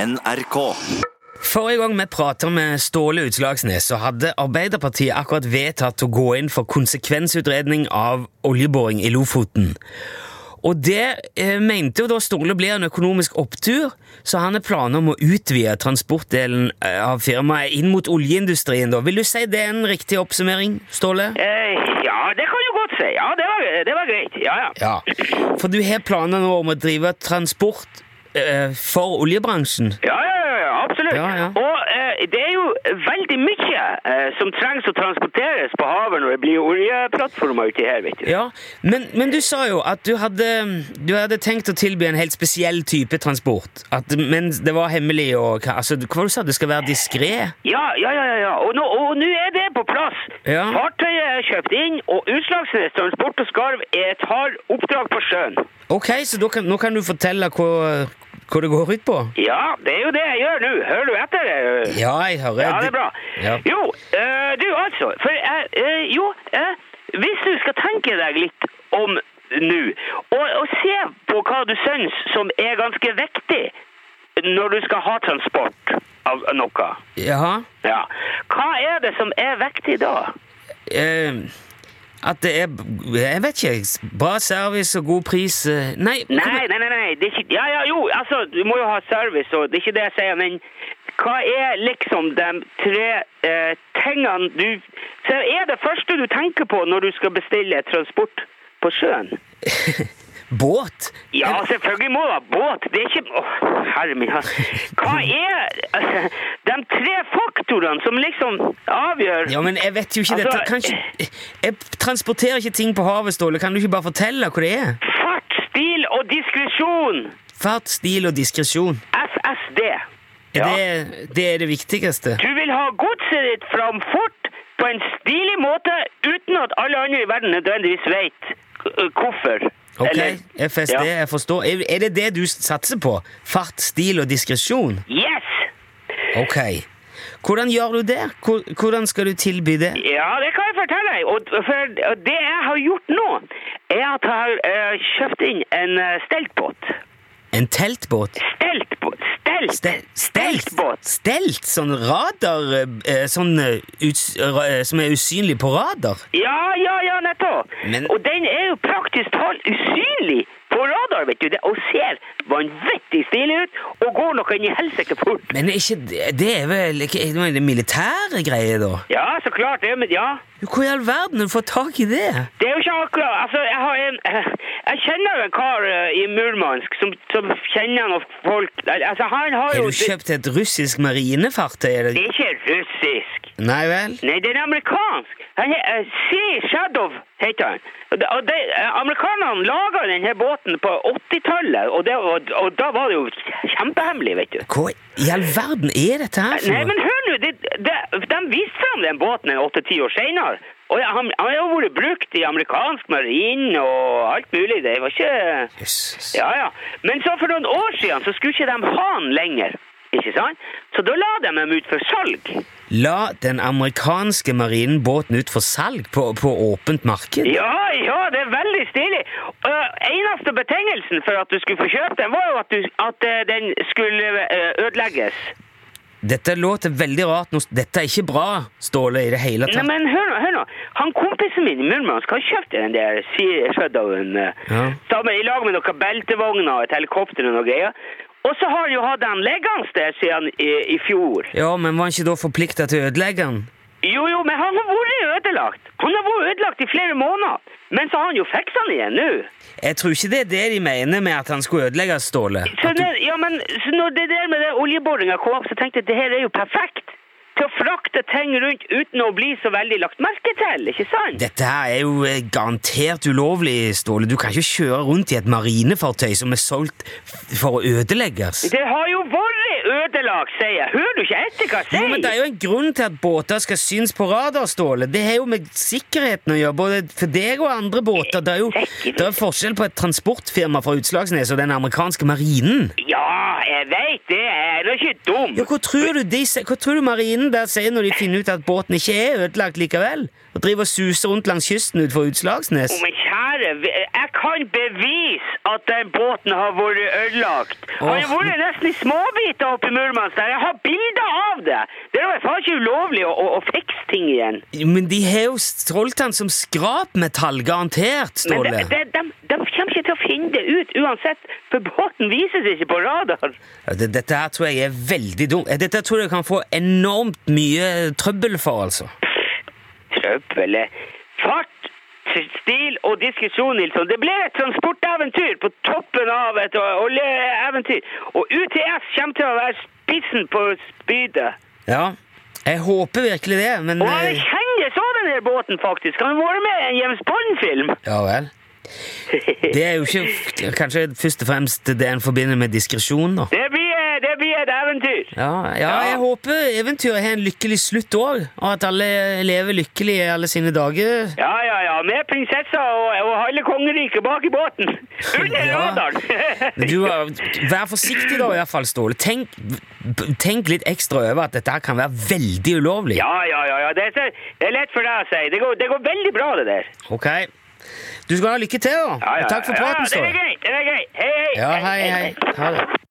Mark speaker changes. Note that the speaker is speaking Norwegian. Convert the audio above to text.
Speaker 1: NRK.
Speaker 2: Forrige gang vi pratet med Ståle Utslagsnes, så hadde Arbeiderpartiet akkurat vedtatt å gå inn for konsekvensutredning av oljeboring i Lofoten. Og det eh, mente jo da Ståle blir en økonomisk opptur, så han har planer om å utvide transportdelen eh, av firmaet inn mot oljeindustrien. da. Vil du si det er en riktig oppsummering, Ståle?
Speaker 3: Eh, ja, det kan du godt si. Ja, det var, det var greit. Ja, ja.
Speaker 2: Ja. For du har planer nå om å drive transport eh, for oljebransjen?
Speaker 3: Ja, ja, ja, ja absolutt.
Speaker 2: Ja, ja.
Speaker 3: Og eh, det er jo veldig mye eh, som trengs å transporteres på havet når det blir oljeplattformer uti her, vet du.
Speaker 2: Ja, men, men du sa jo at du hadde, du hadde tenkt å tilby en helt spesiell type transport. At, men det var hemmelig og hva- altså, Hva var det du sa? Det skal være diskré?
Speaker 3: Ja, ja, ja, ja, ja. Og nå, og nå er det på plass.
Speaker 2: Ja.
Speaker 3: Fartøyet er kjøpt inn, og Utslagsnes Transport og Skarv eh, tar oppdrag på sjøen.
Speaker 2: Ok, så da kan, nå kan du fortelle hva, hva det går ut på?
Speaker 3: Ja, det er jo det jeg gjør nå. Hører du etter? eh?
Speaker 2: Ja, jeg hører
Speaker 3: Ja, det er bra.
Speaker 2: Ja.
Speaker 3: Jo, eh, du altså. For jeg eh, Jo, eh, hvis du skal tenke deg litt om nå, og, og se på hva du syns som er ganske viktig når du skal ha transport av noe,
Speaker 2: Jaha.
Speaker 3: ja. hva er det som er viktig da?
Speaker 2: Eh, at det er Jeg vet ikke. Bra service og god pris eh, Nei. hva-
Speaker 3: Nei, nei, nei, nei. Det er ikke, ja, ja, jo, altså, du må jo ha service, og det er ikke det jeg sier, men hva er liksom de tre eh, tingene du Så er det første du tenker på når du skal bestille transport på sjøen?
Speaker 2: Båt?
Speaker 3: Ja, selvfølgelig må du ha båt. Det er ikke Åh, herre min hatt. Hva er altså, de tre faktorene som liksom avgjør
Speaker 2: Ja, men jeg vet jo ikke
Speaker 3: Altså,
Speaker 2: dette. Kan ikke, jeg transporterer ikke ting på havet, Ståle. Kan du ikke bare fortelle hva det er?
Speaker 3: fart, stil og diskresjon?
Speaker 2: Fart, stil og diskresjon.
Speaker 3: FSD.
Speaker 2: Er Det, det er det viktigste.
Speaker 3: Du vil ha godset ditt fram fort på en stilig måte uten at alle andre i verden nødvendigvis vet eh, hvorfor.
Speaker 2: Ok,
Speaker 3: Eller-
Speaker 2: FSD,
Speaker 3: Ja.
Speaker 2: jeg forstår. Er er det det du satser på? Fart, stil og diskresjon?
Speaker 3: Yes!
Speaker 2: Ok. Hvordan gjør du det? Hvor- Hvordan skal du tilby det?
Speaker 3: Ja, det kan jeg fortelle deg. Og for det jeg har gjort nå, er at jeg har eh, kjøpt inn en eh, steltbåt.
Speaker 2: En teltbåt?
Speaker 3: Steltbåt? Stelt!
Speaker 2: Stel- Stelt?
Speaker 3: Steltbåt.
Speaker 2: Stelt? Sånn radar eh, sånn, eh, uts- ra- eh, Som er usynlig på radar?
Speaker 3: Ja, ja, ja, nettopp.
Speaker 2: Men-
Speaker 3: Og den er jo praktisk talt usynlig på radar, vet du. det, Og ser vanvittig stilig ut, og går nok inn i helsike fort.
Speaker 2: Men er ikke det, det er vel ikke, er det vel en militære greie, da?
Speaker 3: Ja, så klart det, men ja.
Speaker 2: Hvor i all verden har du fått tak i det?
Speaker 3: Det er jo ikke akkurat Altså, jeg har en Jeg kjenner jo en kar eh, i Murmansk som, som kjenner noen folk Altså, han har
Speaker 2: Har
Speaker 3: jo
Speaker 2: du kjøpt et russisk marinefartøy?
Speaker 3: Det
Speaker 2: Eller?
Speaker 3: er ikke russisk.
Speaker 2: Nei vel?
Speaker 3: Nei, det er amerikansk. Han he, eh, Sea Shadow heter han. Og det, og det, eh, amerikanerne laga denne båten på 80-tallet, og, det- og, og da var det jo kjempehemmelig, vet du.
Speaker 2: Hva i all verden er dette her for
Speaker 3: Nei,
Speaker 2: noe?
Speaker 3: men hør nå, det, det, de viste fram den båten en åtte-ti år senere. Og han, han har jo vært brukt i amerikansk marin og alt mulig. Det var ikke
Speaker 2: Jesus.
Speaker 3: Ja, ja. Men så for noen år siden så skulle ikke de ha den lenger. Ikke sant? Så da la de dem ut for salg.
Speaker 2: La den amerikanske marinebåten ut for salg på, på åpent marked?
Speaker 3: Ja, ja, det er veldig stilig. Uh, eneste betingelsen for at du skulle få kjøpt den, var jo at, du, at eh, den skulle eh, ødelegges.
Speaker 2: Dette låter veldig rart. nå- Dette er ikke bra, Ståle, i det hele
Speaker 3: Nei,
Speaker 2: tatt.
Speaker 3: men hør nå, hør nå. Han kompisen min i Murmansk har kjøpt den der Sea Shadowen eh,
Speaker 2: Ja.
Speaker 3: sammen i lag med noen beltevogner og et helikopter og noe greier. Og så har han jo hatt den liggende der siden i, i fjor.
Speaker 2: Ja, men var han ikke da forplikta til å ødelegge den?
Speaker 3: Jo, jo, men han har vært ødelagt. Han har vært ødelagt i flere måneder. Men så har han jo fiksa den igjen nå.
Speaker 2: Jeg tror ikke det er det de mener med at han skulle ødelegge Ståle.
Speaker 3: Så,
Speaker 2: At du,
Speaker 3: når, ja, men, så når det der med det oljeboringa kom opp, så tenkte jeg det her er jo perfekt til å frakte ting rundt uten å bli så veldig lagt merke til, ikke sant?
Speaker 2: dette her er jo eh, garantert ulovlig, Ståle. Du kan ikke kjøre rundt i et marinefartøy som er solgt f- for å ødelegges.
Speaker 3: Det har jo vært ødelagt, sier jeg. Hører du ikke etter hva jeg
Speaker 2: Jo,
Speaker 3: sier?
Speaker 2: men Det er jo en grunn til at båter skal synes på radar, Ståle. Det har jo med sikkerheten å gjøre, både for deg og andre båter. Det er jo det er forskjell på et transportfirma fra Utslagsnes og den amerikanske marinen.
Speaker 3: Ja, jeg veit det. Jeg er da ikke dum.
Speaker 2: Ja, hva tror du, de, se- hva tror du marinen der sier når de finner ut at båten ikke er ødelagt likevel? Og driver og suser rundt langs kysten utenfor Utslagsnes?
Speaker 3: Å, men ære. Jeg kan bevise at den båten har vært ødelagt. Han har
Speaker 2: Åh.
Speaker 3: vært nesten i småbiter oppe i Murmansk der. Jeg har bilder av det! Det er jo faen ikke ulovlig å, å, å fikse ting igjen.
Speaker 2: Men de har jo strålt han som skrapmetall, garantert,
Speaker 3: Men
Speaker 2: Ståle.
Speaker 3: de, de, de, de kommer ikke til å finne det ut uansett, for båten vises ikke på radar.
Speaker 2: Ja, det- Dette her tror jeg er veldig dumt. Dette tror jeg kan få enormt mye trøbbel for, altså.
Speaker 3: Trøbbel Fart, t- stil og diskusjon, Nilsson. Det ble et transporteventyr på toppen av et ø, oljeeventyr. Og UTS kommer til å være spissen på spydet.
Speaker 2: Ja, jeg håper virkelig det, men
Speaker 3: Og han
Speaker 2: eh,
Speaker 3: kjennes av den der båten, faktisk. Han har vært med i en James Bond-film.
Speaker 2: Ja vel. Det er jo ikke f- kanskje først og fremst det en forbinder med diskresjon, da.
Speaker 3: Det blir, det blir et eventyr.
Speaker 2: Ja, ja, jeg håper eventyret har en lykkelig slutt òg, og at alle lever lykkelig i alle sine dager.
Speaker 3: Ja, ja, ja. Med prinsessa og, og halve kongeriket bak i båten. Under
Speaker 2: Ja.
Speaker 3: radaren.
Speaker 2: Men Du, eh, vær forsiktig da, i hvert fall, Ståle. Tenk, b- tenk litt ekstra over at dette her kan være veldig ulovlig.
Speaker 3: Ja, ja, ja. ja. Det, er, det er lett for deg å si. Det går, det går veldig bra, det der.
Speaker 2: Ok. Du skal ha lykke til, da.
Speaker 3: Ja, ja,
Speaker 2: Takk for
Speaker 3: ja,
Speaker 2: praten,
Speaker 3: ja, det
Speaker 2: Ståle.
Speaker 3: er greit. det er greit. Hei, hei.
Speaker 2: Ja, hei, hei. Ha det.